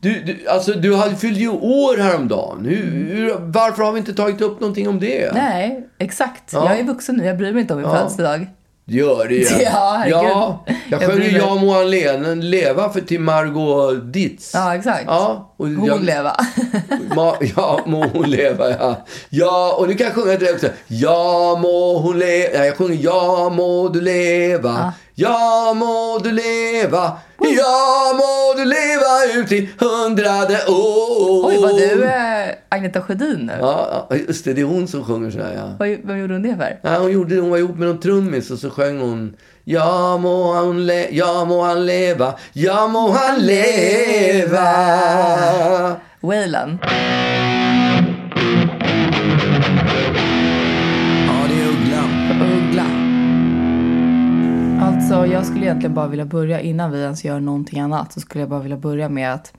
Du, du, alltså, du hade- fyllde ju år häromdagen. Hur, hur, varför har vi inte tagit upp någonting om det? Nej, exakt. Ja. Jag är vuxen nu. Jag bryr mig inte om min Ja. födelsedag. Gör det ju. Ja, herregud. ja, Jag Jag sjöng bryr ju mig. Jag må han le- leva för till Margot Ditz. Ja, exakt. Ja, och Hon jag, leva. ma, ja, må hon leva, ja. Ja, och nu kan jag sjunga det också. Ja, må hon leva. Nej, jag sjunger Ja, må du leva. Ja, må du leva. Ja, må du leva ut i hundrade år. Oj, vad du eh, Agneta Sjödin nu. Oh. Ja, ja, just det. Det är hon som sjunger så här, ja. Vad, vad gjorde hon det för? Ja, hon, gjorde, hon var ihop med någon trummis och så sjöng hon Ja må han, le- ja, må han leva, ja må han leva Waylon. Ja, det är Ugglan. Uggla. Alltså, jag skulle egentligen bara vilja börja, innan vi ens gör någonting annat, så skulle jag bara vilja börja med att,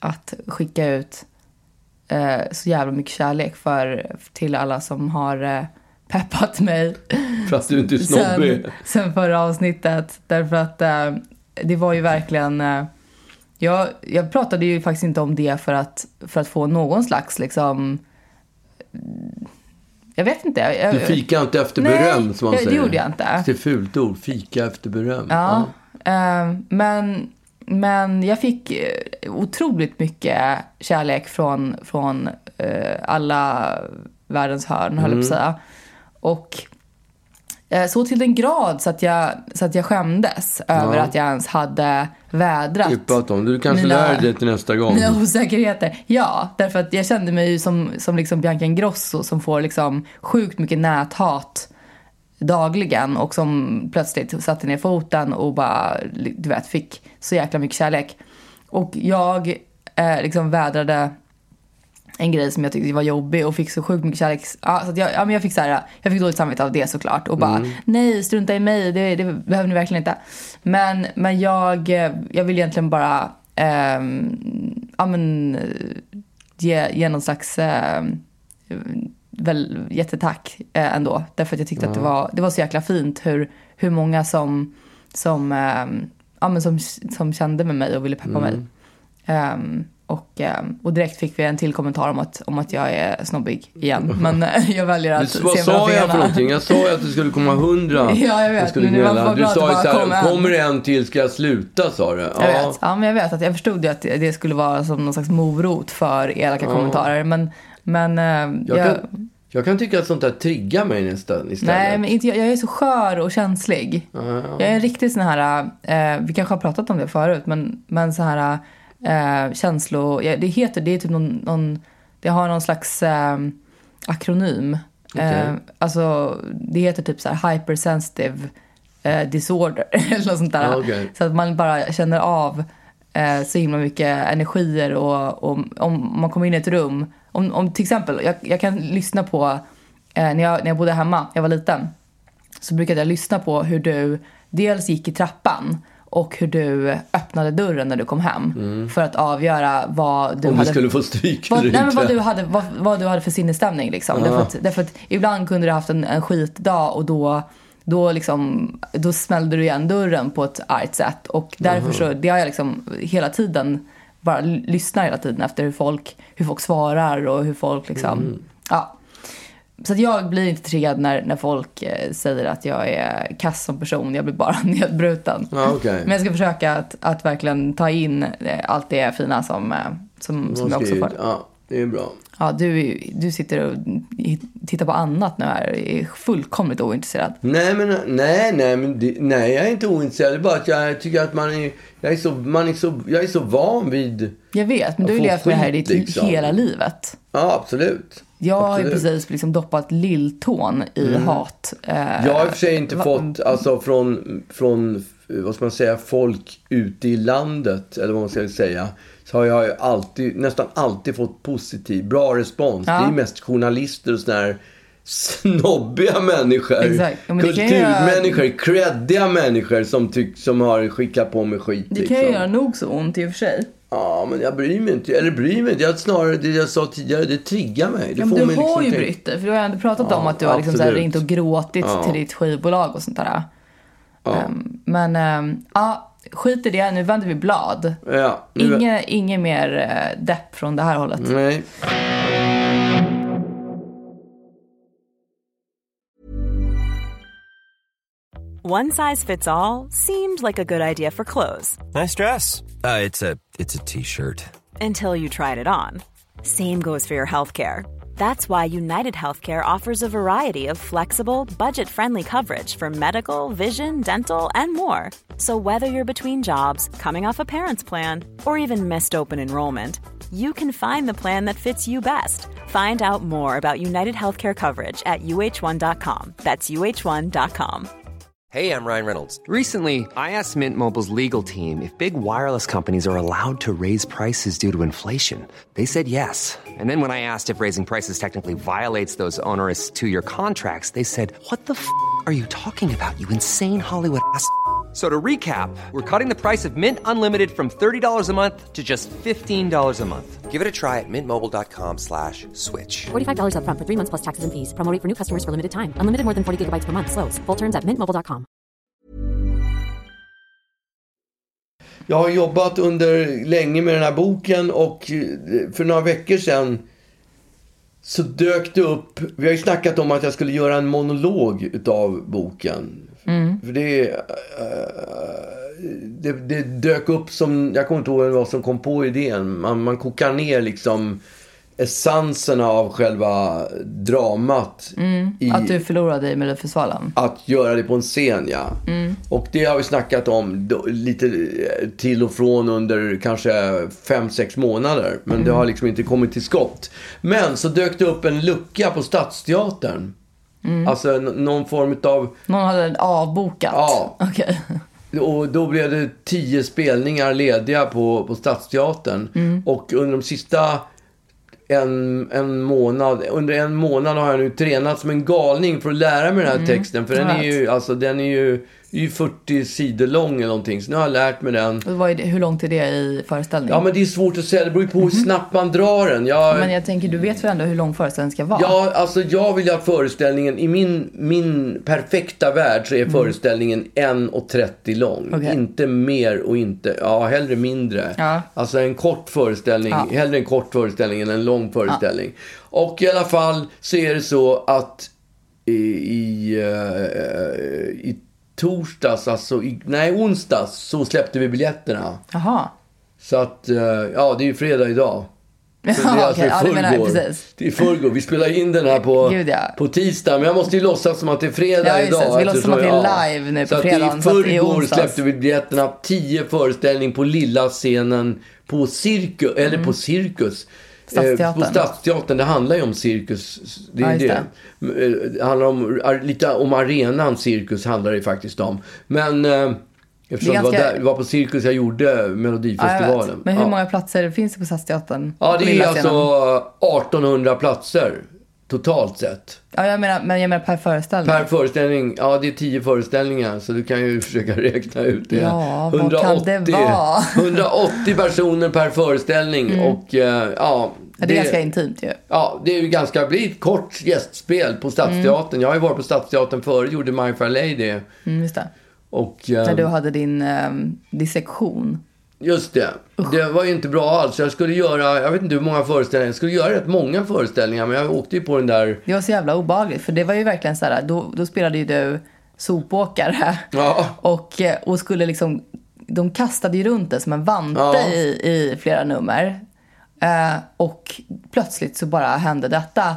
att skicka ut eh, så jävla mycket kärlek för, till alla som har eh, peppat mig För att du inte är snobbig. sen, sen förra avsnittet. Därför att eh, det var ju verkligen... Eh, jag, jag pratade ju faktiskt inte om det för att, för att få någon slags liksom... Jag vet inte. Jag, Du fikar inte efter beröm, som man Nej, säger. det gjorde jag inte. Det är ett fult ord, fika efter beröm. Ja, eh, men, men jag fick eh, otroligt mycket kärlek från, från eh, alla världens hörn, höll jag på att säga. Och eh, så till den grad så att jag, så att jag skämdes över att jag ens hade Det har vädrat vi pratat om. Du kanske Mina- lär dig till nästa gång. mina osäkerheter. Ja, därför att jag kände mig ju som, som liksom Bianca Ingrosso som får liksom sjukt mycket näthat dagligen och som plötsligt satte ner foten och bara, du vet, fick så jäkla mycket kärlek. Och jag eh, liksom vädrade en grej som jag tyckte var jobbig och fick så sjukt mycket kärlek. Ja, så att jag, ja, men jag, fick så här, jag fick dåligt samvete av det såklart och bara nej strunta i mig, det, det behöver ni verkligen inte. Men, men jag, eh, jag vill egentligen bara ehm, ja, men, eh, ge, ge någon slags ehm, väl, jättetack eh, ändå. Därför att jag tyckte att det var, det var så jäkla fint hur, hur många som, som, ehm, ja, men som, som kände med mig och ville peppa mig. Ehm, och, ehm, och direkt fick vi en till kommentar om att, om att jag är snobbig igen. Men eh, jag väljer att Du, vad se mellan sa jag för fingrarna. någonting? Jag sa ju att det skulle komma hundra. Ja, jag vet, Som skulle men det var gnälla. bra Du att det sa ju bara så här, kom en. kommer det en till ska jag sluta, sa du. Jag Ja. vet. Ja, men jag vet att jag förstod ju att det det skulle vara som någon slags morot för elaka kommentarer. Men, men eh, Jag, jag, kan, jag kan tycka att sånt där triggar mig nästan istället. nej, men inte, jag, jag är så skör och känslig. Ja, Jag är en riktig sån här, eh, vi kanske har pratat om det förut, men, men så här eh, känslo... ja, Det heter, det är typ någon, någon det har någon slags eh, akronym. Eh, Okej. alltså, det heter typ så här hypersensitive eh, disorder eller något sånt där. Ja, okej. Så att man bara känner av eh, så himla mycket energier och, och om man kommer in i ett rum. Om, om till exempel, jag, jag kan lyssna på eh, när, jag, när jag bodde hemma, jag var liten så brukade jag lyssna på hur du dels gick i trappan och hur du öppnade dörren när du kom hem för att avgöra vad Mm. du Om du hade skulle få stryk vad, eller nej, men vad, inte. du hade, vad, vad du hade för sinnesstämning. Liksom. Därför, att, därför att ibland kunde du haft en, en skitdag och då, då, liksom, då smällde du igen dörren på ett argt sätt. Och därför så, det har jag liksom hela tiden, bara l- lyssnar hela tiden efter hur folk, hur folk svarar och hur folk liksom, Mm. ja. Så att jag blir inte triggad när, när folk eh, säger att jag är kass som person. Jag blir bara nedbruten. Ja, okej. Men jag ska försöka att, att verkligen ta in eh, allt det fina som, eh, som, som jag också Skrivit. får. Ja, det är bra. Ja, du, är ju- du sitter och tittar på annat nu här. Är fullkomligt ointresserad. Nej, men, nej, nej, men det, nej, jag är inte ointresserad. Det är bara att jag tycker att man är, jag är, så, man är, så, jag är så van vid... Jag vet, men du har ju Jag får levt med det här i ditt skit, liksom. hela livet. Ja, absolut. Jag har ju Absolut. Mm. precis liksom doppat lilltån i hat. Eh, Jag har i och för sig inte va- fått, alltså från, från, vad ska man säga, folk ute i landet, eller vad man ska säga, så har jag ju alltid, nästan alltid fått positiv, bra respons. Ja. Det är mest journalister och sådana här snobbiga människor. Exakt. Ja, men det kan ju göra- kulturmänniskor, creddiga människor som, tyck, som har skickat på mig skit. liksom. Det kan ju göra nog så ont i och för sig. Ja, men jag bryr mig inte. Eller bryr mig inte. Jag, snarare det jag sa tidigare, det triggar mig. Det Ja, men får du mig har liksom ju tänka- brytt dig. För du har ju ändå pratat Ja, om att du har liksom så här absolut. ringt och gråtit Ja. till ditt skivbolag och sånt där. Ja. Ehm, Men, ehm, ja, skit i det, nu vänder vi blad. Ja, nu- Inge, inge mer eh, depp från det här hållet. Nej. One size fits all seemed like a good idea for clothes Nice dress. Uh, it's a it's a t-shirt. until you tried it on. Same goes for your healthcare. That's why United Healthcare offers a variety of flexible, budget friendly coverage for medical, vision, dental, and more. So, whether you're between jobs, coming off a parent's plan, or even missed open enrollment, you can find the plan that fits you best. Find out more about United Healthcare coverage at uh1.com. That's uh1.com. Hey, I'm Ryan Reynolds. Recently, I asked Mint Mobile's legal team if big wireless companies are allowed to raise prices due to inflation. They said yes. And then when I asked if raising prices technically violates those onerous two year contracts, they said, What the f are you talking about, you insane Hollywood ass? f- a-" So to recap, we're cutting the price of Mint Unlimited from $30 a month to just $15 a month. Give it a try at mintmobile.com slash switch. $45 upfront for three months plus taxes and fees. Promo rate for new customers for limited time. Unlimited more than 40 gigabytes per month. Slows. Full terms at mintmobile.com. Jag har jobbat under länge med den här boken och eh, för några veckor sedan så dök det upp, vi har ju snackat om att jag skulle göra en monolog utav boken. Mm. För det, eh, det, det dök upp som, jag kommer inte ihåg vem det var som kom på idén. Man, man kokar ner liksom essenserna av själva dramat. i, Mm. Att du förlorade i Melodifestivalen. att göra det på en scen, ja. Och det har vi snackat om då, lite eh, till och från under kanske 5-6 månader. Men det har liksom inte kommit till skott. Men så dök det upp en lucka på Stadsteatern. Alltså n- någon form av... Någon hade avbokat? Ja. Okej. Och då blev det 10 spelningar lediga på, på Stadsteatern. Och under de sista en, en månad, under en månad har jag nu tränat som en galning för att lära mig den här texten. För den är ju, alltså den är ju, är ju 40 sidor lång eller någonting. Så nu har jag lärt mig den. Och vad är det- Hur långt är det i föreställning? Ja men det är svårt att säga, det beror ju på hur snabbt man drar den. Jag, Men jag tänker, du vet väl ändå hur lång föreställningen ska vara? Ja, alltså jag vill att föreställningen, i min, min perfekta värld så är föreställningen 1.30 lång. Mm. Okej. Inte mer och inte, ja hellre mindre. Ja. Alltså en kort föreställning, Ja. hellre en kort föreställning än en lång föreställning. Och i alla fall så är det så att i, i, eh, i torsdags, alltså i, nej onsdags så släppte vi biljetterna. Jaha. Så att, eh, ja det är ju fredag idag. Så det är Ja, alltså okej. i Ja, du menar, förrgår. precis. Det är i förrgår. Vi spelar in den här på, Gud, ja. på tisdag. Men jag måste ju låtsas som att det är fredag Ja, just det. idag. Så vi låtsas som att det är eftersom- live nu på så att fredagen, I så att det är förrgår onsdags. släppte vi biljetterna. Tio föreställning på lilla scenen på cirkus. Eller på cirkus. Eh, Mm. Stadsteatern. På Stadsteatern. Det handlar ju om cirkus. Det är Ja, just det. Eh, Det handlar om, ar- lite om arenan cirkus handlar det faktiskt om. Men eh, eftersom det, Det är var ganska- där, det var på cirkus jag gjorde Ja, jag vet. Melodifestivalen. Men hur Ja. många platser finns det på Stadsteatern? Ja, På det är lilla alltså scenen? 1800 platser totalt sett. Ja, jag menar, men jag menar per föreställning. Per föreställning, ja det är 10 föreställningar så du kan ju försöka räkna ut det. Ja, vad kan det vara? Mm. 180 personer per föreställning och eh, ja. Ja, det är ganska intimt ju. Ja, det är ju ganska, det blir ett kort gästspel på Stadsteatern. Jag har ju varit på Stadsteatern förut, gjorde My Fair Lady. Mm, just det. Och, eh, När du hade din um, dissektion. Just det. Det var ju inte bra alls. Jag skulle göra, jag vet inte hur många föreställningar, jag skulle göra rätt många föreställningar men jag åkte ju på den där Det var så jävla obehagligt. För det var ju verkligen så här, då, då spelade ju du sopåkare. Ja. Och, eh, och skulle liksom, de kastade ju runt det som en vante Ja. i, i flera nummer. Eh, och plötsligt så bara hände detta.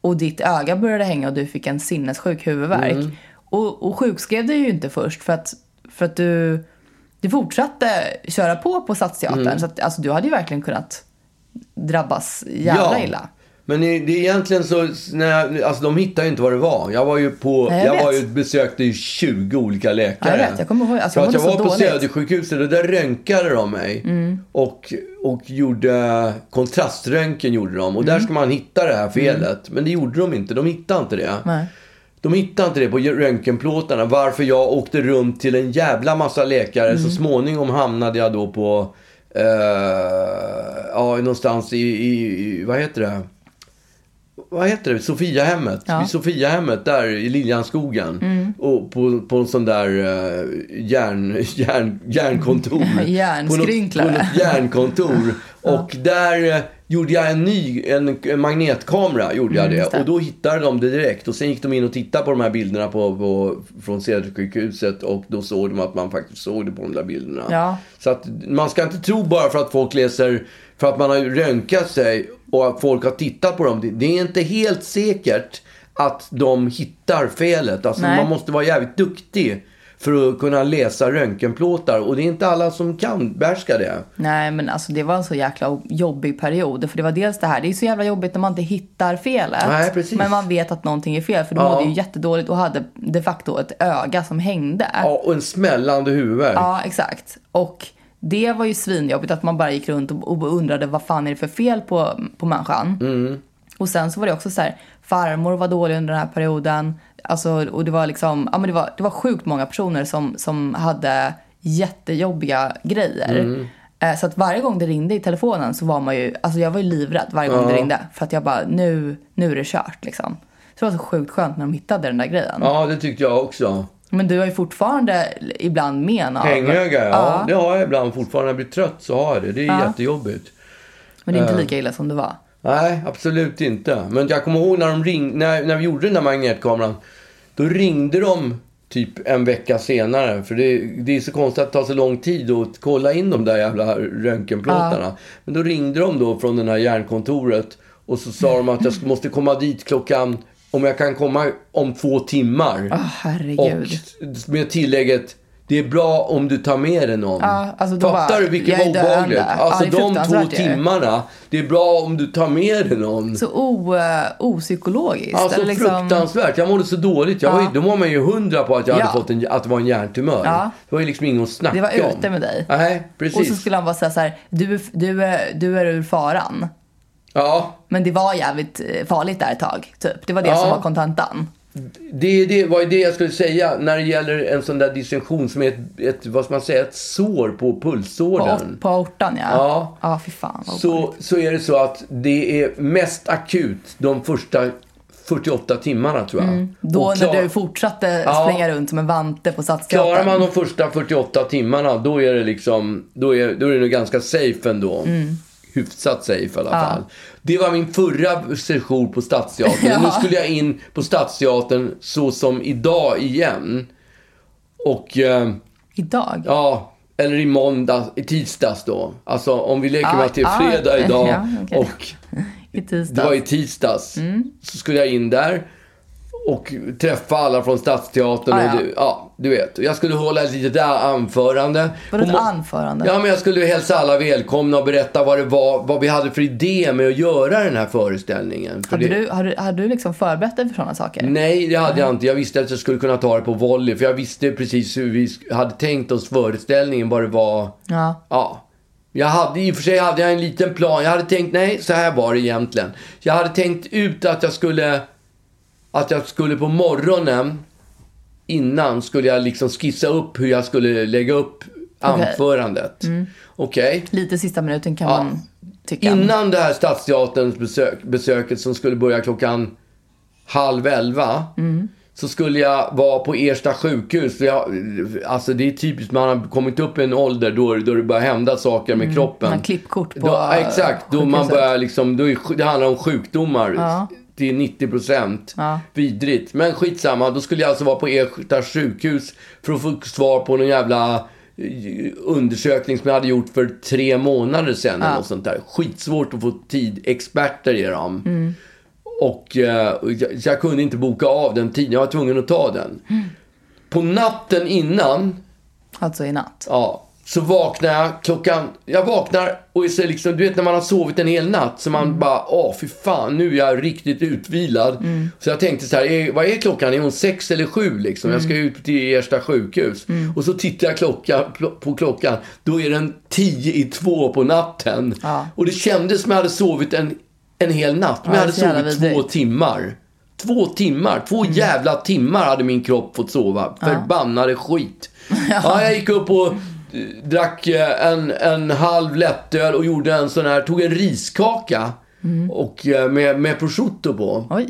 Och ditt öga började hänga och du fick en sinnessjuk huvudvärk. Mm. Och, och sjukskrev dig ju inte först för att, för att du, du fortsatte köra på på Stadsteatern. Mm. Så att, alltså, du hade ju verkligen kunnat drabbas jävla illa. Men det det är egentligen så, när jag, alltså de hittar ju inte vad det var. Jag var ju på, Nej, jag jag, vet. var ju, besökte ju 20 olika läkare. Ja, jag vet. Jag kommer ihåg- alltså, För jag att jag mådde var så på dåligt. Mm. Södersjukhuset och där röntgade de mig. Och, och gjorde, kontraströntgen gjorde de. Och där Mm. ska man hitta det här felet. Men det gjorde de inte, de hittade inte det. Nej. De hittade inte det på röntgenplåtarna. Varför jag åkte runt till en jävla massa läkare. Mm. Så småningom hamnade jag då på, eh, ja någonstans i, i, i, vad heter det? Vad heter det? Sofiahemmet. Ja. Mm. Vid Sofiahemmet där i Liljanskogen. Och på, på en sån där eh, järn, järn, järnkontor. Järnskrynklare. På något, på något järnkontor. Och där eh, gjorde jag en ny en, en magnetkamera. Gjorde Mm, jag det. Och då hittade de det direkt. Och sen gick de in och tittade på de här bilderna på, på, från Södersjukhuset. Och då såg de att man faktiskt såg det på de där bilderna. Ja. Så att man ska inte tro bara för att folk läser, för att man har röntgat sig och att folk har tittat på dem. Det- Det är inte helt säkert att de hittar felet. Alltså Nej. man måste vara jävligt duktig för att kunna läsa röntgenplåtar. Och det är inte alla som kan behärska det. Nej, men alltså det var en så jäkla jobbig period. För det var dels det här, det är så jävla jobbigt när man inte hittar felet. Nej, precis. Men man vet att någonting är fel. För du Ja. mådde ju jättedåligt och hade de facto ett öga som hängde. Ja, och en smällande huvudvärk. Ja, exakt. Och det var ju svinjobbigt att man bara gick runt och, och undrade vad fan är det för fel på, på människan. Mm. Och sen så var det också så här, farmor var dålig under den här perioden. Alltså, och det var liksom, ja men det var, det var sjukt många personer som, som hade jättejobbiga grejer. Mm. Eh, Så att varje gång det ringde i telefonen så var man ju, alltså jag var ju livrädd varje gång det ringde. För att jag bara, nu, nu är det kört liksom. Så det var så sjukt skönt när de hittade den där grejen. Ja, det tyckte jag också. Men du har ju fortfarande ibland men av... Hängöga, ja. Ja. Det har jag ibland fortfarande. När jag blir trött så har jag det. Det är Ja. jättejobbigt. Men det är Eh. inte lika illa som det var. Nej, absolut inte. Men jag kommer ihåg när, de ring, när, när vi gjorde den där magnetkameran. Då ringde de typ en vecka senare. För det, det är så konstigt att det tar så lång tid att kolla in de där jävla röntgenplåtarna. Men då ringde de då från det här järnkontoret. Och så sa de att jag måste komma dit klockan, om jag kan komma om två timmar. Åh, herregud. Och med tillägget, det är bra om du tar med dig någon. Ja, alltså då Fattar bara, du vilket jag är var obehagligt? döende. Alltså Ja, det är de två fruktansvärt ju. timmarna, det är bra om du tar med dig någon. Så o, eh, opsykologiskt. Alltså eller liksom, fruktansvärt. Jag mådde så dåligt. Jag var, ju- Då var man ju hundra på att jag Ja. hade fått en, att det var en hjärntumör. Ja. Det var ju liksom ingen att snacka Det var om. ute med dig. Nej, precis. Och så skulle han bara säga så här, du, är- du, är- du är ur faran. Ja, Men det var jävligt eh, farligt där ett tag, typ. Det var det Ja. som var kontentan. det, det var ju det jag skulle säga när det gäller en sån där dissenktion som är ett, ett vad ska man säga, ett sår på På, pulsådern. or- på ortan, ja. Ja. Ja, fy fan vad obehagligt. så, så är det så att det är mest akut de första 48 timmarna tror jag. Mm. Då Och klar- när du fortsatte springa runt som en vante på Klarar Stadsteatern. man de första 48 timmarna då är det liksom, då är, då är det nog ganska safe ändå. Mm. Hyfsat safe i alla fall. Det var min förra session på Stadsteatern. Ja. Nu skulle jag in på Stadsteatern så som idag igen. Och eh, Idag? ja, eller i måndag, i tisdags då. Alltså om vi leker Ja, med att det är ja, fredag ja, idag Ah, okej. och I det tisdags? var i tisdags. Mm. Så skulle jag in där och träffa alla från Stadsteatern. Ah, och ja. du, ja, du vet. Jag skulle hålla ett litet där anförande. Vadå ett Och må- anförande? Ja, men jag skulle hälsa alla välkomna och berätta vad det var, vad vi hade för idé med att göra den här föreställningen. För Hade det- du, hade, hade du liksom förberett dig för sådana saker? Nej, det hade jag inte. Jag visste att jag skulle kunna ta det på volley. För jag visste precis hur vi sk- hade tänkt oss föreställningen, vad det var. Ja. Ja. Jag hade, I och för sig hade jag en liten plan. Jag hade tänkt, nej, så här var det egentligen. Jag hade tänkt ut att jag skulle, att jag skulle på morgonen innan skulle jag liksom skissa upp hur jag skulle lägga upp anförandet. Okej. Lite sista minuten kan Ja. man tycka. Innan det här Stadsteaterns besök, besöket som skulle börja klockan halv elva. Mm. Så skulle jag vara på Ersta sjukhus. För Jag, alltså det är typiskt, man har kommit upp i en ålder då, då det börjar hända saker med kroppen. Mm. Man har klippkort på då, ja, Exakt, då man sjukhuset. börjar liksom, då är, sj- det handlar om sjukdomar. Ja. Till 90 procent. Ja. Vidrigt. Men skitsamma, då skulle jag alltså vara på Ersta sjukhus för att få svar på någon jävla eh, undersökning som jag hade gjort för tre månader sedan. Eller något sånt där. Skitsvårt att få tid. Experter är de. Mm. Och eh, och jag, jag kunde inte boka av den tiden. Jag var tvungen att ta den. Mm. På natten innan Alltså i natt. Ja. Så vaknar jag klockan, jag vaknar och är så liksom, du vet när man har sovit en hel natt så man Mm. bara, åh fy fan, nu är jag riktigt utvilad. Mm. Så jag tänkte så här, är, vad är klockan? Är hon sex eller sju liksom? Jag Mm. ska ut till Ersta sjukhus. Och så tittar jag klocka, pl- på klockan, då är den tio i två på natten. Ja. Och det kändes som jag hade sovit en, en hel natt, men jag det är hade så jävla sovit två vidrigt. timmar. Två timmar, två jävla timmar hade min kropp fått sova. Förbannade skit. Ja, jag gick upp och eh, drack eh, en, en halv lättöl och gjorde en sån här, tog en riskaka. Och eh, med, med prosciutto på. Oj.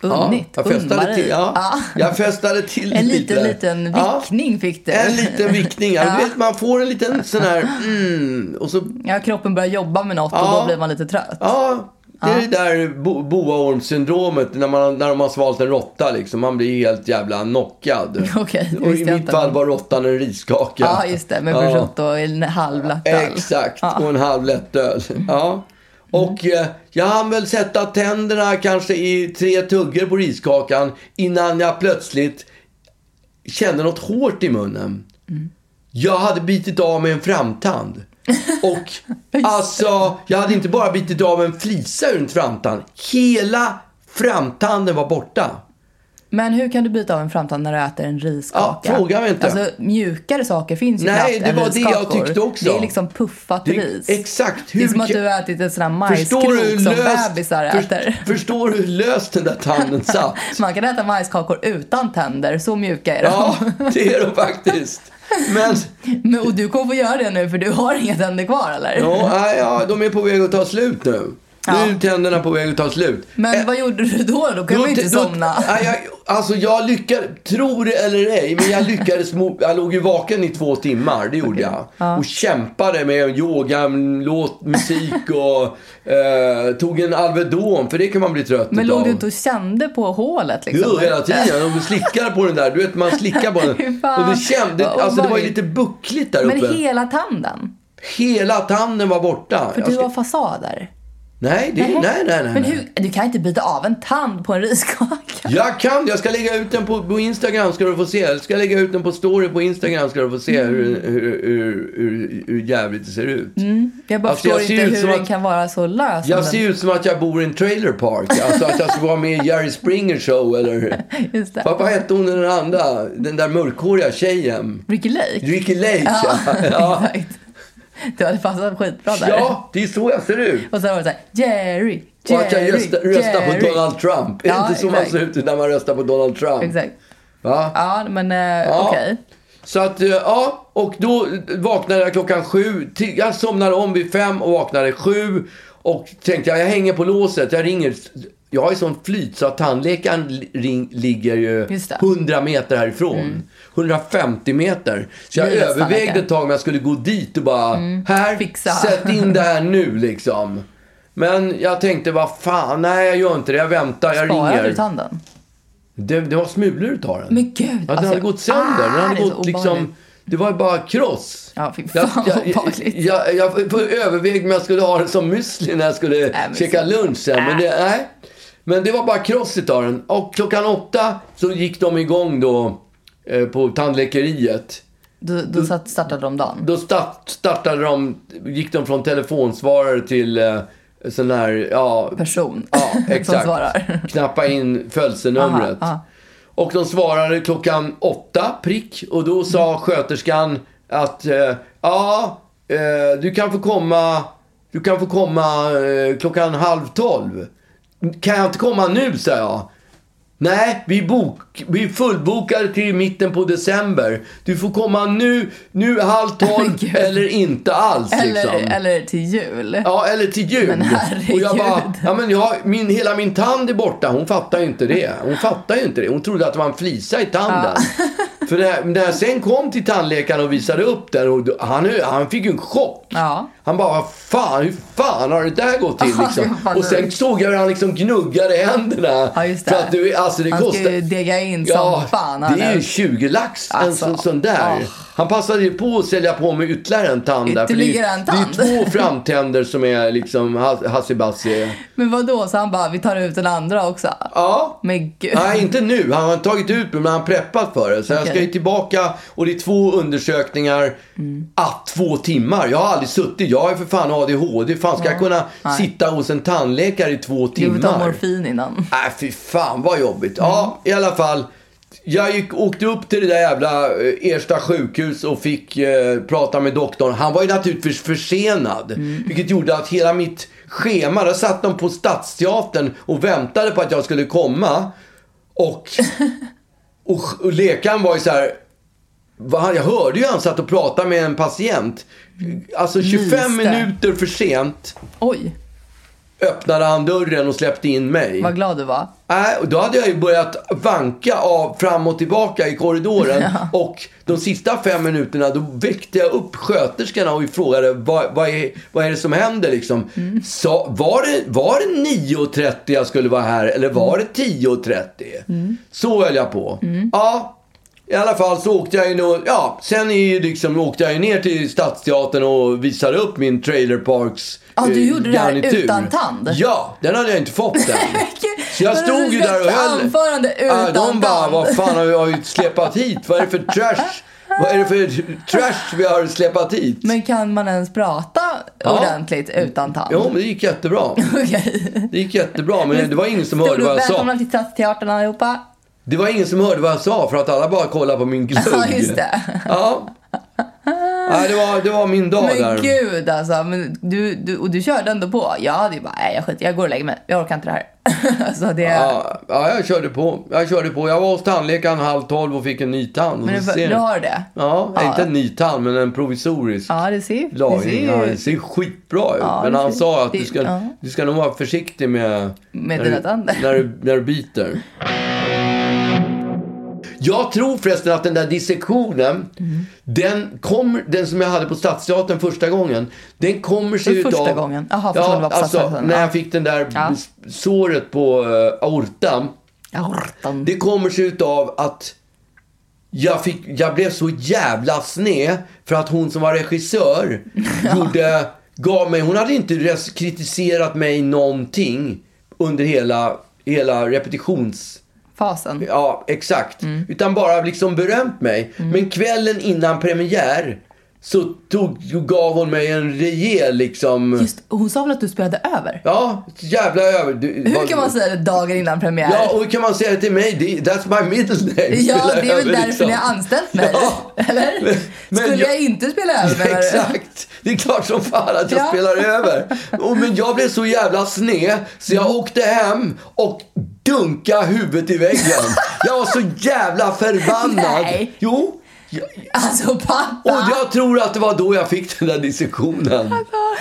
Unnit. Ja, jag, festade Unnmarie. till, ja, jag festade till En det liten, lite. liten Ja, vickning fick du. En liten vickning. Ja. Du vet, man får en liten sån här... Mm, och så, Ja, kroppen börjar jobba med något och Ja. då blir man lite trött. ja, det är det där bo, boaormssyndromet när, man, när man har svalt en råtta. Liksom. Man blir helt jävla knockad. Okej, det och visste i jag mitt inte, fall men- var råttan en riskaka. Ja, just det. Med Ja. prosciutto och en halv lättöl. Exakt, och en halv lättöl. Ja. Och eh, jag hann väl sätta tänderna kanske i tre tuggor på riskakan innan jag plötsligt kände något hårt i munnen. Mm. Jag hade bitit av mig en framtand. Och alltså, jag hade inte bara bitit av en flisa ur en framtand. Hela framtanden var borta. Men hur kan du byta av en framtand när du äter en riskaka? Ja, fråga mig inte. Alltså, mjukare saker finns ju Nej, knappt det än var det jag riskakor. tyckte också. Det är liksom puffat Det- ris. exakt, det hur är som att kan- du har ätit en sån här Förstår du hur majskrok som löst, bebisar först- äter. förstår du hur löst den där tanden satt? Man kan äta majskakor utan tänder, så mjuka är de. Ja, det är de faktiskt. Men Men, och du kommer få göra det nu för du har inga tänder kvar eller? ja, nej, ja, de är på väg att ta slut nu. Ja. Nu är tänderna på väg att ta slut. Men Eh, vad gjorde du då? Då kunde då- du inte då- somna. Nej, jag, alltså jag lyckades, tror det eller ej, men jag lyckades, mo- jag låg ju vaken i två timmar, det gjorde jag. Och kämpade med yoga, låt, musik och eh, tog en Alvedon, för det kan man bli trött Men utav. låg du inte och kände på hålet liksom? Jo, hela tiden. De slickade på den där. Du vet, man slickar på Fy den. fan. Och det kände, Vad alltså det var ju obehagligt. lite buckligt där Men uppe. hela tanden? Hela tanden var borta. För Jag du ska- har fasader. Nej, det... nej, nej, nej. Men nej. hur, du kan inte byta av en tand på en riskaka. Jag kan, jag ska lägga ut den på, på Instagram ska du få se. Jag ska lägga ut den på story på Instagram ska du få se hur, Mm. hur, hur, hur, hur jävligt det ser ut. Jag bara Alltså, jag förstår ser inte ut hur som den att- kan vara så lös. Jag som ser ut som att jag bor i en trailer park. Alltså att jag ska vara med i Jerry Springer show eller... den- Just det. Vad vad hette hon den andra? Den där mörkhåriga tjejen? Ricky Lake. Ricky Lake ja. ja. Exakt. Du hade passat skitbra där. Ja, det är så jag ser ut. Och sen var det såhär, Jerry, Jerry, Och att jag rösta, rösta på Jerry. Donald Trump. Är Ja, det inte så man exakt. ser ut när man röstar på Donald Trump? Exakt. Va? Ja, men eh, okej. Så att, eh, ja. Och då vaknade jag klockan sju. Till- Jag somnade om vid fem och vaknade sju. Och tänkte jag, jag hänger på låset. Jag ringer. Jag har ju sån flyt så att tandläkaren li- ring, ligger ju Just det. Mm. 100 meter härifrån. 150 meter. Så jag Livets övervägde tandläkare. ett tag om jag skulle gå dit och bara, här, Mm. Fixa. sätt in det här nu liksom. Men jag tänkte, vad fan, nej jag gör inte det. Jag väntar, jag Sparade ringer. du tanden? Det, det var smulor utav den. Men gud, Ja, den alltså, hade gått sönder. ah, den hade det är så gått obehagligt. liksom... Det var ju bara kross. Ja, fy fan, vad jag, jag, obehagligt. jag, jag, jag övervägde om jag skulle ha den som müsli när jag skulle men käka så- lunch sen. Men Äh. det, nej. Men det var bara kross utav den. Och klockan åtta så gick de igång då eh, på tandläkeriet. Då, då satt, startade de dagen. Då start, startade de, gick de från telefonsvarare till eh, sån här, ja, Person Ja, som exakt. Typ svarar. Knappa in födelsenumret. Aha, aha. Och de svarade klockan åtta prick och då sa Mm. sköterskan att eh, ja, eh, du kan få komma, du kan få komma eh, klockan halv tolv. Kan jag inte komma nu, sa jag. Nej, vi, bok, vi är fullbokade till mitten på december. Du får komma nu, nu halv Men tolv gud. eller inte alls. Eller, liksom. eller till jul. Ja, eller till jul. Men herregud. och jag bara, ja men jag, min, hela min tand är borta. Hon fattar ju inte det. Hon fattar ju inte det. Hon trodde att det var en flisa i tanden. För när, när jag sen kom till tandläkaren och visade upp den, och då, han, han fick ju en chock. Ja. Han bara, vad fan, hur fan har det där gått till? Ja, Liksom. fan, Och sen roligt. såg jag hur han liksom gnuggade händerna. Ja, just det. För att det, alltså, det han kostar... ska ju dega in som fan. det är ju 20 lax Alltså, en sån, sån där. åh. Han passade ju på att sälja på mig ytterligare en tand där. för det, Ytterligare är- en det tand. är ju två framtänder som är liksom has- hassibassi. Men vad då så han bara, vi tar ut den andra också? Ja. Men gud. Nej, inte nu. Han har tagit ut mig, men han har preppat för det. Så jag ska Okej. ju tillbaka och det är två undersökningar. Mm. Att två timmar. Jag har aldrig suttit. Jag är för fan ADHD. Fan, ska jag kunna sitta hos en tandläkare i två Du får ta timmar? morfin innan. Nej, Äh, fy fan vad jobbigt. Ja, i alla fall. Jag gick, åkte upp till det där jävla eh, Ersta sjukhus och fick eh, prata med doktorn. Han var ju naturligtvis försenad. Vilket gjorde att hela mitt schema, där satt de på Stadsteatern och väntade på att jag skulle komma. Och, och, och läkaren var ju så här. Vad han, jag hörde ju han satt och pratade med en patient. Alltså 25 Lyste. minuter för sent. Oj. öppnade han dörren och släppte in mig. Vad glad du var. Nej, Äh, och då hade jag ju börjat vanka av fram och tillbaka i korridoren. Och de sista fem minuterna då väckte jag upp sköterskorna och frågade vad, vad, är, vad är det som händer liksom. Mm. Sa, var, det, var det 9.30 jag skulle vara här eller var det 10.30? Mm. Så höll jag på. Ja, i alla fall så åkte jag ju nog, ja, sen är ju liksom, åkte jag ju ner till Stadsteatern och visade upp min Trailer Parks Ja, du eh, gjorde det här utan tand. Ja, den hade jag inte fått än. Så jag Men stod du ju ska där och ett höll. anförande Ja, utan de bara, tand. vad fan har vi- har vi släpat hit? Vad är det för trash? Vad är det för trash vi har släpat hit? Men kan man ens prata ordentligt utan tand? Jo, men det gick jättebra. Okej. Det gick jättebra, men det var ingen som Stod hörde du vad jag sa. välkomna till Stadsteatern allihopa? Det var ingen som hörde vad jag sa för att alla bara kollade på min glugg. Ja, just det. Ja. Nej, det, var, det var min dag där. Men gud alltså. Men du, du, och du körde ändå på. Jag hade ju bara, nej jag skiter jag går och lägger mig. Jag orkar inte det här. alltså det... Ja, ja, jag körde på. Jag körde på. Jag var hos tandläkaren halv tolv och fick en ny tand. men Och du, så ser du ni. har det? Ja, Ja. inte en ny tand, men en provisorisk. Ja, det ser, det ser lagring. Ja, ju det ser skitbra ut. Ja, men det han ser- sa att det- du ska, ja. du ska nog vara försiktig med, Med när, dina du, tänder. när, du, när du biter. Jag tror förresten att den där dissektionen, Mm. den, kommer, den som jag hade på Stadsteatern första gången, den kommer sig Den utav... första gången? Jaha, förstår du ja, vad på alltså, Stadsteatern, när ja. jag fick den där Ja. såret på eh, aortan. Aortan. Det kommer sig utav att jag, fick, jag blev så jävla sned för att hon som var regissör gjorde, gav mig, hon hade inte res- kritiserat mig någonting under hela, hela repetitions... Fasen. Ja, exakt. Mm. Utan bara liksom berömt mig. Men kvällen innan premiär så tog, gav hon mig en rejäl liksom... Just, hon sa väl att du spelade över? Ja, jävla över... du- Hur vad- kan man säga det dagen innan premiär? Ja, och hur kan man säga det till mig? Det- That's my middle name. Ja, det är väl Över, därför liksom. ni har anställt mig. Ja. Eller? Men- men Skulle jag... jag- inte spela över Ja, menar du? Exakt! Det är klart som fan att jag Ja. spelar över. Och, men jag blev så jävla sned så Mm. jag åkte hem och dunkade huvudet i väggen. Jag var så jävla förbannad. Nej. Jo. Jag- Alltså pappa! Och jag tror att det var då jag fick den där dissektionen.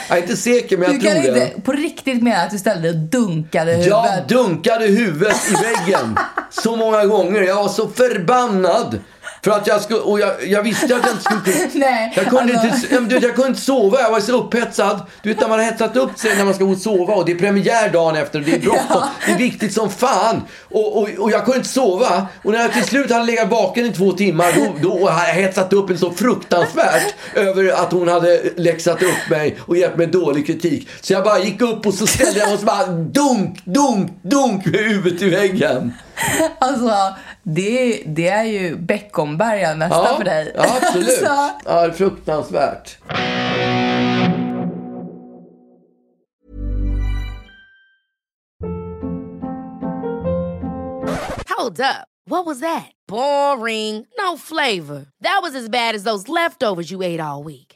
Jag är inte säker men Alltså, Du jag tror kan det. inte på riktigt mena att du ställde dig och dunkade Jag huvudet. dunkade huvudet i väggen så många gånger. Jag var så förbannad. För att jag skulle, och jag, jag visste att jag inte skulle kunna- Nej, jag kunde, alltså- inte, ja, men du vet, jag kunde inte sova, jag var så upphetsad. Du vet när man har hetsat upp sig när man ska gå och sova och det är premiär dagen efter och det är bråttom. Det är viktigt som fan. Och, och, och jag kunde inte sova. Och när jag till slut hade legat baken i två timmar då, då hade jag hetsat upp mig så fruktansvärt över att hon hade läxat upp mig och gett mig dålig kritik. Så jag bara gick upp och så ställde jag mig och så bara dunk, dunk, dunk med huvudet i väggen. Alltså, det, det är ju Beckomberga nästa för dig. ja, absolut. Alltså, Ja, det är fruktansvärt. Hold up. What was that? Boring. No flavor. That was as bad as those leftovers you ate all week.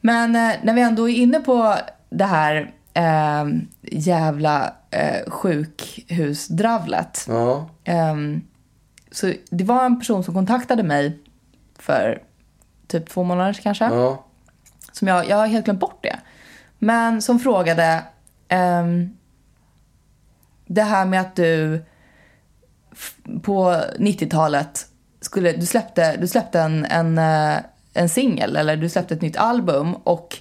Men eh, när vi ändå är inne på det här eh, jävla eh, sjukhusdravlet. Ja. Ehm, så det var en person som kontaktade mig för typ två månader kanske. Ja. Som jag, jag har helt glömt bort det. Men som frågade ehm, det här med att du f- på 90-talet skulle, du släppte, du släppte en, en, eh, en singel eller du släppte ett nytt album och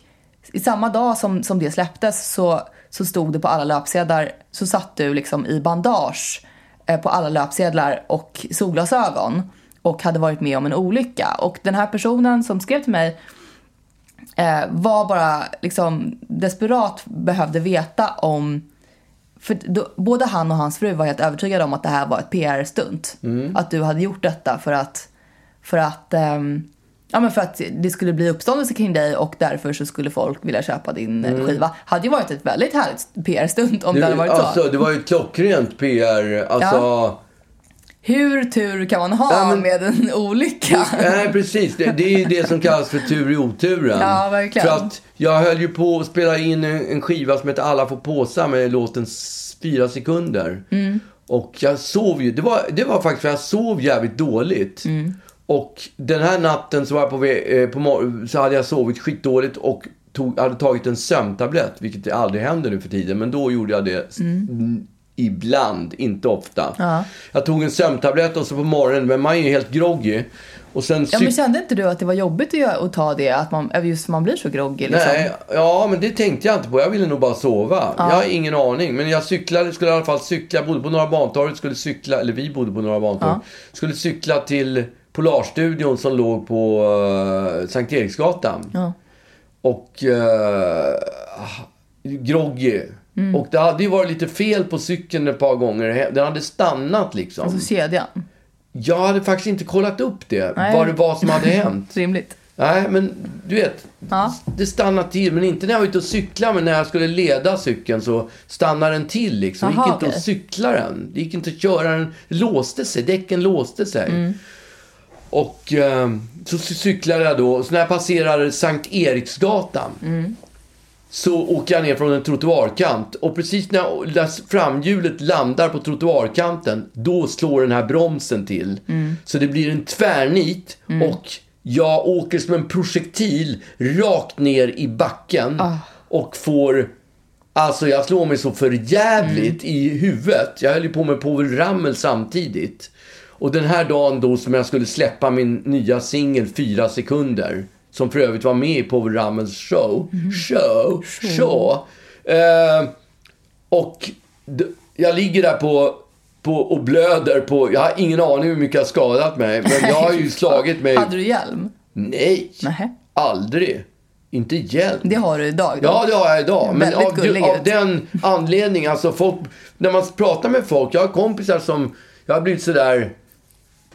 I samma dag som, som det släpptes så, så stod det på alla löpsedlar, så satt du liksom i bandage eh, på alla löpsedlar och solglasögon och hade varit med om en olycka. Och den här personen som skrev till mig eh, var bara liksom desperat behövde veta om för då, både han och hans fru var helt övertygade om att det här var ett PR-stunt. Mm. Att du hade gjort detta för att, för att, ehm, ja, men för att det skulle bli uppståndelse kring dig och därför så skulle folk vilja köpa din eh, Mm. skiva. Hade ju varit ett väldigt härligt PR-stunt om det, hade varit alltså, så. det var ju ett klockrent PR. Alltså, Ja. Hur tur kan man ha Ja, men- med en olycka? Nej, precis. Det, det är ju det som kallas för tur i oturen. Ja, verkligen. För att jag höll ju på att spela in en, en skiva som heter Alla får påsa med låten S- Fyra sekunder. Mm. Och jag sov ju. Det var, det var faktiskt för jag sov jävligt dåligt. Mm. Och den här natten så, var jag på, vä- eh, på mor- så hade jag sovit skitdåligt och tog, hade tagit en sömntablett, vilket aldrig händer nu för tiden. Men då gjorde jag det s- Mm. n- ibland, inte ofta. Jag tog en sömntablett och så på morgonen, men man är ju helt groggy. Och sen Ja, cyk- men kände inte du att det var jobbigt att, göra- att ta det? Att man, eh, just man blir så groggy liksom? Nej, ja men det tänkte jag inte på. Jag ville nog bara sova. Jag har ingen aning. Men jag cyklade, skulle i alla fall cykla. Jag bodde på Norra Bantorget, skulle cykla, eller vi bodde på Norra Bantorget. Skulle cykla till Polarstudion som låg på eh, Sankt Eriksgatan. Och eh, groggy. Mm. Och det hade ju varit lite fel på cykeln ett par gånger. Den hade stannat liksom. Alltså kedjan. Jag hade faktiskt inte kollat upp det. Nej. Vad det var som hade hänt. Rimligt. Nej, men du vet. Ja. Det stannar till, men inte när jag var ute och cyklade. Men när jag skulle leda cykeln så stannade den till. Liksom. Det gick Aha, inte okej. att cykla den. Det gick inte att köra den. Det låste sig. Däcken låste sig. Mm. Och eh, så cy- cyklade jag då. Så när jag passerade Sankt Eriksgatan Mm. så åker jag ner från en trottoarkant. Och precis när jag- när framhjulet landar på trottoarkanten, då slår den här bromsen till. Mm. Så det blir en tvärnit och jag åker som en projektil rakt ner i backen. Ah. Och får... Alltså jag slår mig så förjävligt Mm. i huvudet. Jag höll ju på med Povel Ramel samtidigt. Och den här dagen då som jag skulle släppa min nya singel Fyra sekunder. Som för övrigt var med i Povel Ramels show. Mm. Show. Show. Eh, och d- jag ligger där på, på och blöder på... Jag har ingen aning hur mycket jag har skadat mig. Men jag har ju slagit mig... Hade du hjälm? Nej. Nähä. Aldrig. Inte hjälp. Det har du idag då? Ja, det har jag idag. Men Väldigt av, gullig av ut. den anledningen, alltså folk, när man pratar med folk, jag har kompisar som, jag har blivit sådär,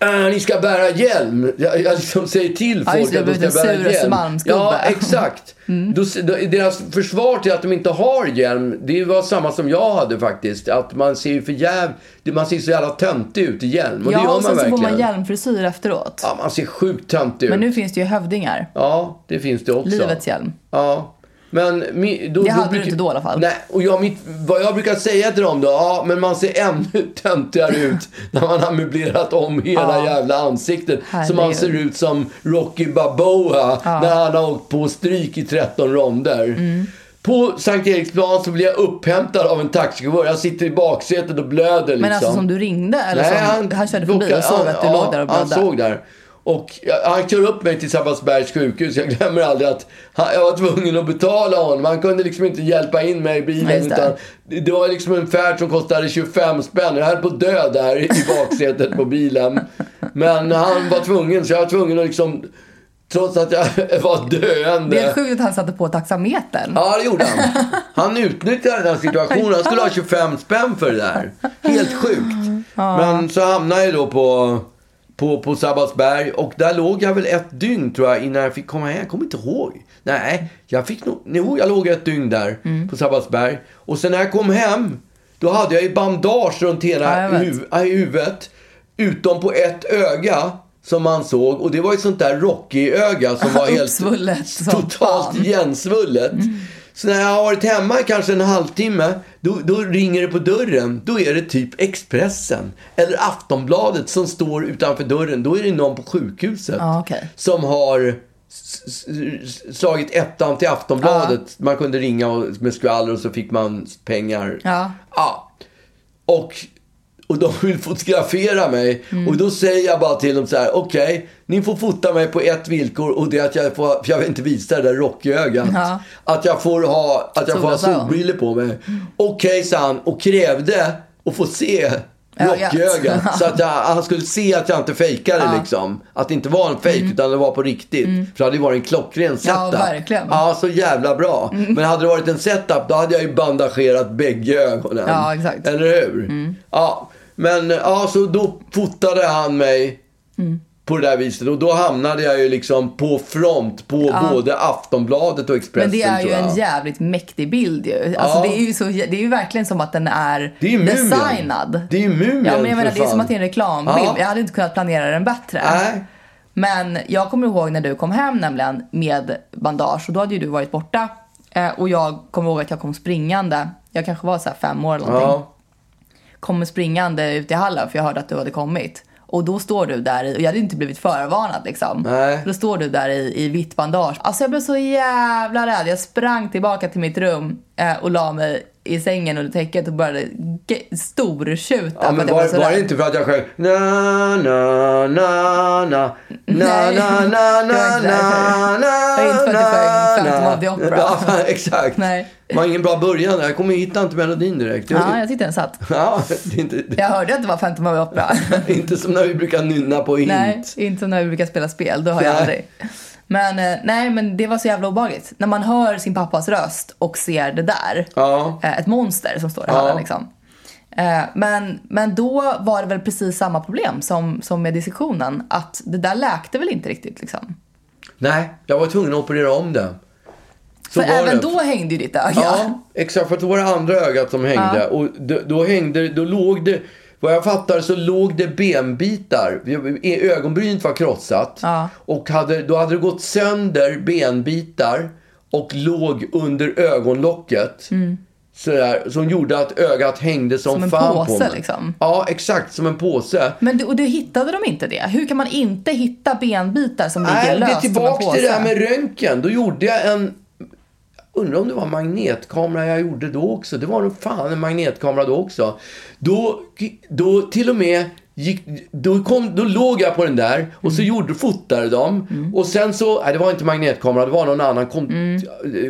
äh, ni ska bära hjälm. Jag, jag liksom säger till Ja, folk just det, att de du har ska blivit bära en sur hjälm. Östermalmsgubbe. Ja, exakt. Mm. Då, s- då, deras försvar till att de inte har hjälm, det var samma som jag hade faktiskt. Att man ser ju för jäv, man ser så jävla töntig ut i hjälm. Och det gör ja, man och sen så verkligen. får man hjälmfrisyr efteråt. Ja, man ser sjukt töntig ut. Men nu finns det ju hövdingar. Ja, det finns det också. Livets hjälm. Ja. Men mi- då, Det då hade du brukar- inte då i alla fall. Nej, och jag, mitt, vad jag brukar säga till dem då, ja men man ser ännu töntigare ut när man har möblerat om hela jävla ansiktet. Så man Herregud. ser ut som Rocky Balboa när han har åkt på stryk i 13 ronder. Mm. På Sankt Eriksplan så blir jag upphämtad av en taxichaufför. Jag sitter i baksätet och blöder liksom. Men alltså som du ringde eller Nej, som han, körde förbi råkade- och såg han- att du ja, låg där och blödde? Han såg där. Och jag- han kör upp mig till Sabbatsbergs sjukhus. Jag glömmer aldrig att han, jag var tvungen att betala honom. Han kunde liksom inte hjälpa in mig i bilen. Nej, just det. utan det. det var liksom en färd som kostade 25 spänn. Jag höll på att dö där i baksätet på bilen. Men han var tvungen, så jag var tvungen att liksom... Trots att jag var döende. Det är sjukt att han satte på taxametern. Ja, det gjorde han. Han utnyttjade den här situationen. Han skulle ha 25 spänn för det där. Helt sjukt. Men så hamnade jag då på, på, på Sabbatsberg och där låg jag väl ett dygn tror jag innan jag fick komma hem. Jag kommer inte ihåg. Nej, jag fick nog... Jo, jag låg ett dygn där Mm. på Sabbatsberg. Och sen när jag kom hem, då hade jag ju bandage runt Ja, hela jag vet. huv, äh, huvudet. Utom på ett öga som man såg. Och det var ju ett sånt där Rocky-öga som var helt Uppsvullet som totalt fan. igensvullet. Mm. Så när jag har varit hemma i kanske en halvtimme, då, då ringer det på dörren. Då är det typ Expressen eller Aftonbladet som står utanför dörren. Då är det någon på sjukhuset Ja, okej. som har s- s- s- slagit ettan till Aftonbladet. Man kunde ringa och, med skvaller och så fick man pengar. Ja. Ja. Och, Och de vill fotografera mig. Mm. Och då säger jag bara till dem så här, okej, ni får fota mig på ett villkor och det är att jag får, för jag vill inte visa det där rockögat. Ja. Att jag får ha, att jag får ha Solglasögon. Mm. solbrillor på mig. Okej, sa han och krävde att få se Ögat. rockögat. Så att jag, han skulle se att jag inte fejkade liksom. Att det inte var en Mm. fejk utan det var på riktigt. För det hade ju varit en klockren setup. verkligen. Ja, så jävla bra. Mm. Men hade det varit en setup då hade jag ju bandagerat bägge ögonen. Ja, exakt. Mm. Eller hur? Ja, men ja, så då fotade han mig Mm. på det där viset. Och då hamnade jag ju liksom på front på både Aftonbladet och Expressen Men det är ju tror jag. en jävligt mäktig bild ju. Alltså Ja. det är ju så, det är ju verkligen som att den är, Det är ju Mumien. designad. Det är ju Mumien, Ja men jag för menar det är fan. som att det är en reklambild. Ja. Jag hade inte kunnat planera den bättre. Nej. Men jag kommer ihåg när du kom hem nämligen med bandage och då hade ju du varit borta. Eh, och jag kommer ihåg att jag kom springande. Jag kanske var så här fem år eller någonting. Ja. Kommer springande ut i hallen för jag hörde att du hade kommit. Och då står du där i, och jag hade inte blivit förvarnad liksom. Nej. Då står du där i, i vitt bandage. Alltså jag blev så jävla rädd. Jag sprang tillbaka till mitt rum eh, och la mig i sängen under täcket och började ge- stortjuta. Ja, för men att jag var, så var rädd. det inte för att jag sjöng na na na na na na Nej, na na det var na inte därför. Det var inte för att du sjöng Phantom of the Opera. Ja, exakt. Nej. Det var ingen bra början. Jag kommer hitta inte melodin direkt. Ja, jag tyckte den satt. Ja, det är inte, det Jag hörde att det var Phantom of the Opera. är inte som när vi brukar nynna på hint. nej, inte som när vi brukar spela spel. Då har jag Nej. aldrig. Men eh, nej, men det var så jävla obehagligt. När man hör sin pappas röst och ser det där. Ja. Eh, Ett monster som står i hallen liksom. Eh, Men, men då var det väl precis samma problem som, som med dissektionen. Att det där läkte väl inte riktigt liksom. Nej, jag var tvungen att operera om det. Så För var även det. då hängde ju ditt öga. Ja, exakt. För att det var det andra ögat som hängde. Och då, då hängde, då låg det, vad jag fattar så låg det benbitar. Ögonbrynet var krossat. Ja. Och hade, då hade det gått sönder benbitar och låg under ögonlocket. Sådär, som gjorde att ögat hängde som, Mm. Som en fan på påse, mig. liksom. Ja, exakt. Som en påse. Men du, och du hittade de inte det? Hur kan man inte hitta benbitar som ligger Nej, det löst är som en tillbaka till det här påse? med röntgen. Då gjorde jag en... Undrar om det var magnetkamera jag gjorde då också. Det var nog fan en magnetkamera då också. Då, då till och med gick, då, kom, då låg jag på den där och Mm. så gjorde, fotade de. Och sen så, nej det var inte magnetkamera, det var någon annan. Kom,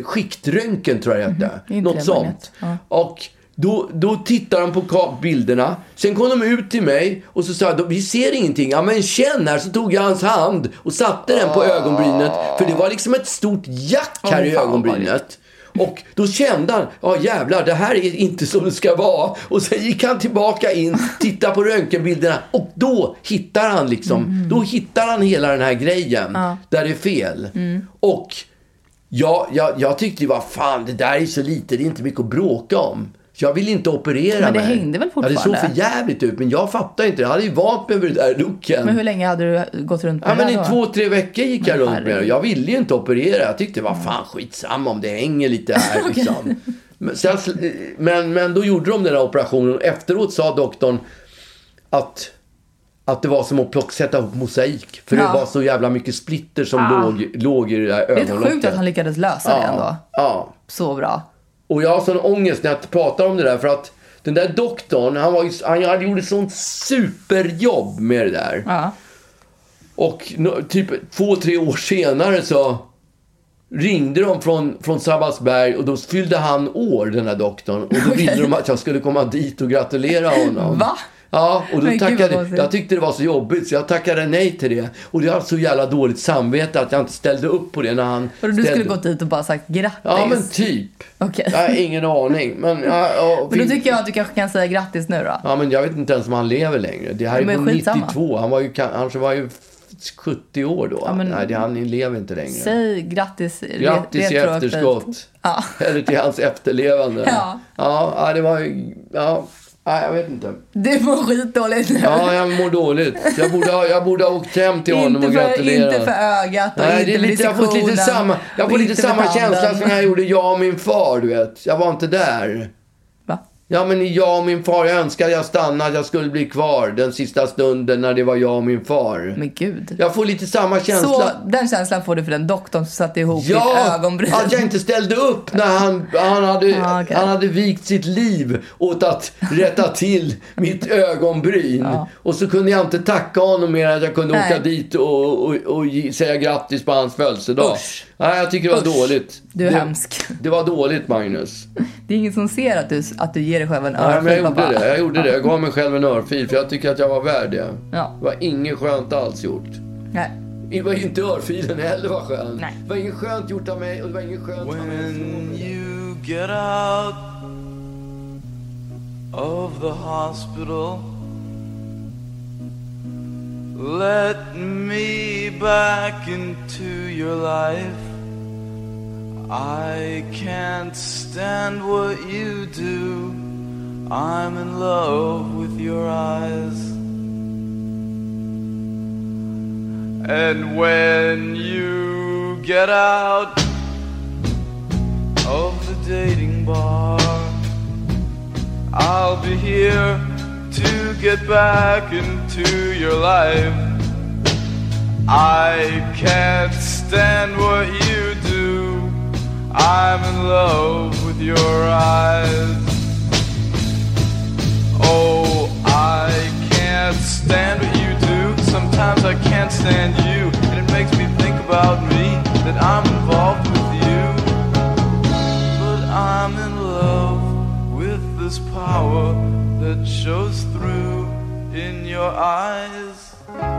Skiktröntgen tror jag det hette. det är inte Något det Mm. magnet. sånt. Och då, då tittar de på ka- bilderna. Sen kom de ut till mig och så sa de, vi ser ingenting. Ja men känn här. Så tog jag hans hand och satte den på ögonbrynet. För det var liksom ett stort jack här Ah. Åh, i fan, vad ögonbrynet. Och då kände han, ja jävlar det här är inte som det ska vara. Och sen gick han tillbaka in, tittade på röntgenbilderna och då hittar han liksom, då hittar han hela den här grejen där det är fel. Och Ja, jag, jag tyckte ju vad fan, det där är så lite, det är inte mycket att bråka om. Jag vill inte operera Men det mig. hängde väl Ja, det fortfarande? såg för jävligt ut, men jag fattar inte. Jag hade ju vant mig vid den där looken. Men hur länge hade du gått runt med Ja, det men i här då? två, tre veckor gick jag Men runt med det. herregud. Jag ville ju inte operera. Jag tyckte, vad fan, skitsamma om det hänger lite här liksom. men, sen, sl- men, men då gjorde de den här operationen och efteråt sa doktorn att att det var som att plock, sätta ihop mosaik. För Ja. det var så jävla mycket splitter som låg, låg i det där Det är ögonlocket. helt sjukt att han lyckades lösa det ändå. ja, ja, Så bra. och jag har sån ångest när jag pratar om det där för att den där doktorn, han, var ju, han hade gjort ett sånt superjobb med det där. Ja. Och nå- typ två, tre år senare så ringde de från, från Sabbatsberg och då fyllde han år, den här doktorn. Och då ville de att jag skulle komma dit och gratulera honom. Va? Ja, och då Men gud, vad tackade, konstigt. jag tyckte det var så jobbigt så jag tackade nej till det. Och jag har så jävla dåligt samvete att jag inte ställde upp på det när han Och du skulle ställde- gått dit och bara sagt grattis. Ja, men typ. Okej. Jag har ingen aning. Men, ja, ja, Men då fin- tycker jag att du kanske kan säga grattis nu då. Ja, men jag vet inte ens om han lever längre. Det här är Men på skitsamma. 92. Han var ju, kan- han var ju 70 år då. men- Nej, det, han lever inte längre. Säg grattis re- Grattis i retroaktivt. efterskott. Ja. Eller till hans efterlevande. Ja. Ja, ja, det var ju... Ja, nej, jag vet inte. Du mår skitdåligt nu. Ja, jag mår dåligt. Jag borde ha, jag borde ha åkt hem till honom inte, och för, gratulerat. inte för ögat och Nej, inte det är för lite, jag har fått lite dissektionen samma, jag och får lite inte för samma tanden. känsla som jag gjorde jag och min far, du vet. Jag var inte där. Va? Ja, men jag och min far, jag önskar jag stannade, jag skulle bli kvar den sista stunden när det var jag och min far. Men gud. Jag får lite samma känsla. Så den känslan får du för den doktorn som satte ihop ditt ögonbryn. att jag inte ställde upp när han, han, hade, Ja, okej. han hade vikt sitt liv åt att rätta till mitt ögonbryn. Och så kunde jag inte tacka honom mer än att jag kunde Nej. åka dit och, och, och ge- säga grattis på hans födelsedag. Usch. Nej, jag tycker det var Usch. dåligt. Du är det, hemsk. Det var dåligt, Magnus. Det är ingen som ser att du, att du ger dig själv en Nej, men jag örfil gjorde pappa. det. Jag gjorde det. Jag gav mig själv en örfil, för jag tycker att jag var värd det. Ja. Det var inget skönt alls gjort. Nej. Det var inte örfilen heller var skön. Nej. Det var inget skönt gjort av mig och det var inget skönt av mig. When you get out of the hospital, let me back into your life. I can't stand what you do. I'm in love with your eyes. And when you get out of the dating bar. I'll be here to get back into your life. I can't stand what you do. I'm in love with your eyes. Oh, I can't stand what you do. Sometimes I can't stand you, and it makes me think about me that I'm involved with you. But I'm in love with this power that shows through in your eyes.